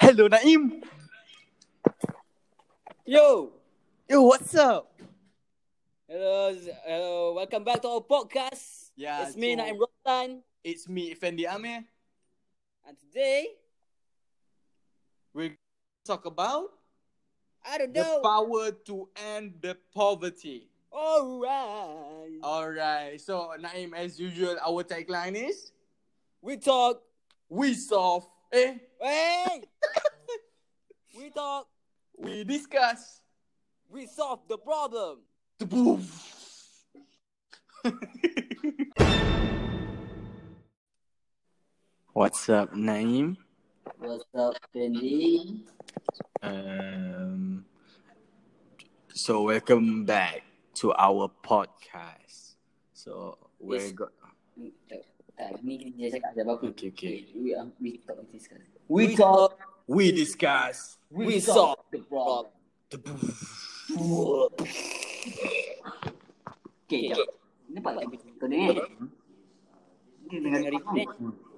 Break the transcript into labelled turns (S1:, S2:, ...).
S1: Hello, Naim.
S2: Yo,
S1: Yo, what's up?
S2: hello, z- hello. Welcome back to our podcast.
S1: Yeah,
S2: it's me,
S1: so-
S2: Naim Rotan,
S1: It's me, Effendi Amir.
S2: and today
S1: We're going to talk about
S2: I don't
S1: the
S2: know.
S1: power to end the poverty.
S2: All right,
S1: All right. So, Naim, as usual, our tagline is
S2: we talk.
S1: We solve, eh?
S2: Hey, we talk.
S1: We discuss.
S2: We solve the problem.
S1: What's up, Naim?
S2: What's up, Fendi?
S1: Um, so welcome back to our podcast. So we're
S2: Yes.
S1: go-
S2: Ni dia cakap ada bagus.
S1: okay, okay.
S2: We we talk. kan? We talk.
S1: We discuss.
S2: We solve the problem. Okay, jap. Nampak tak kita ni? Dia dengar replay.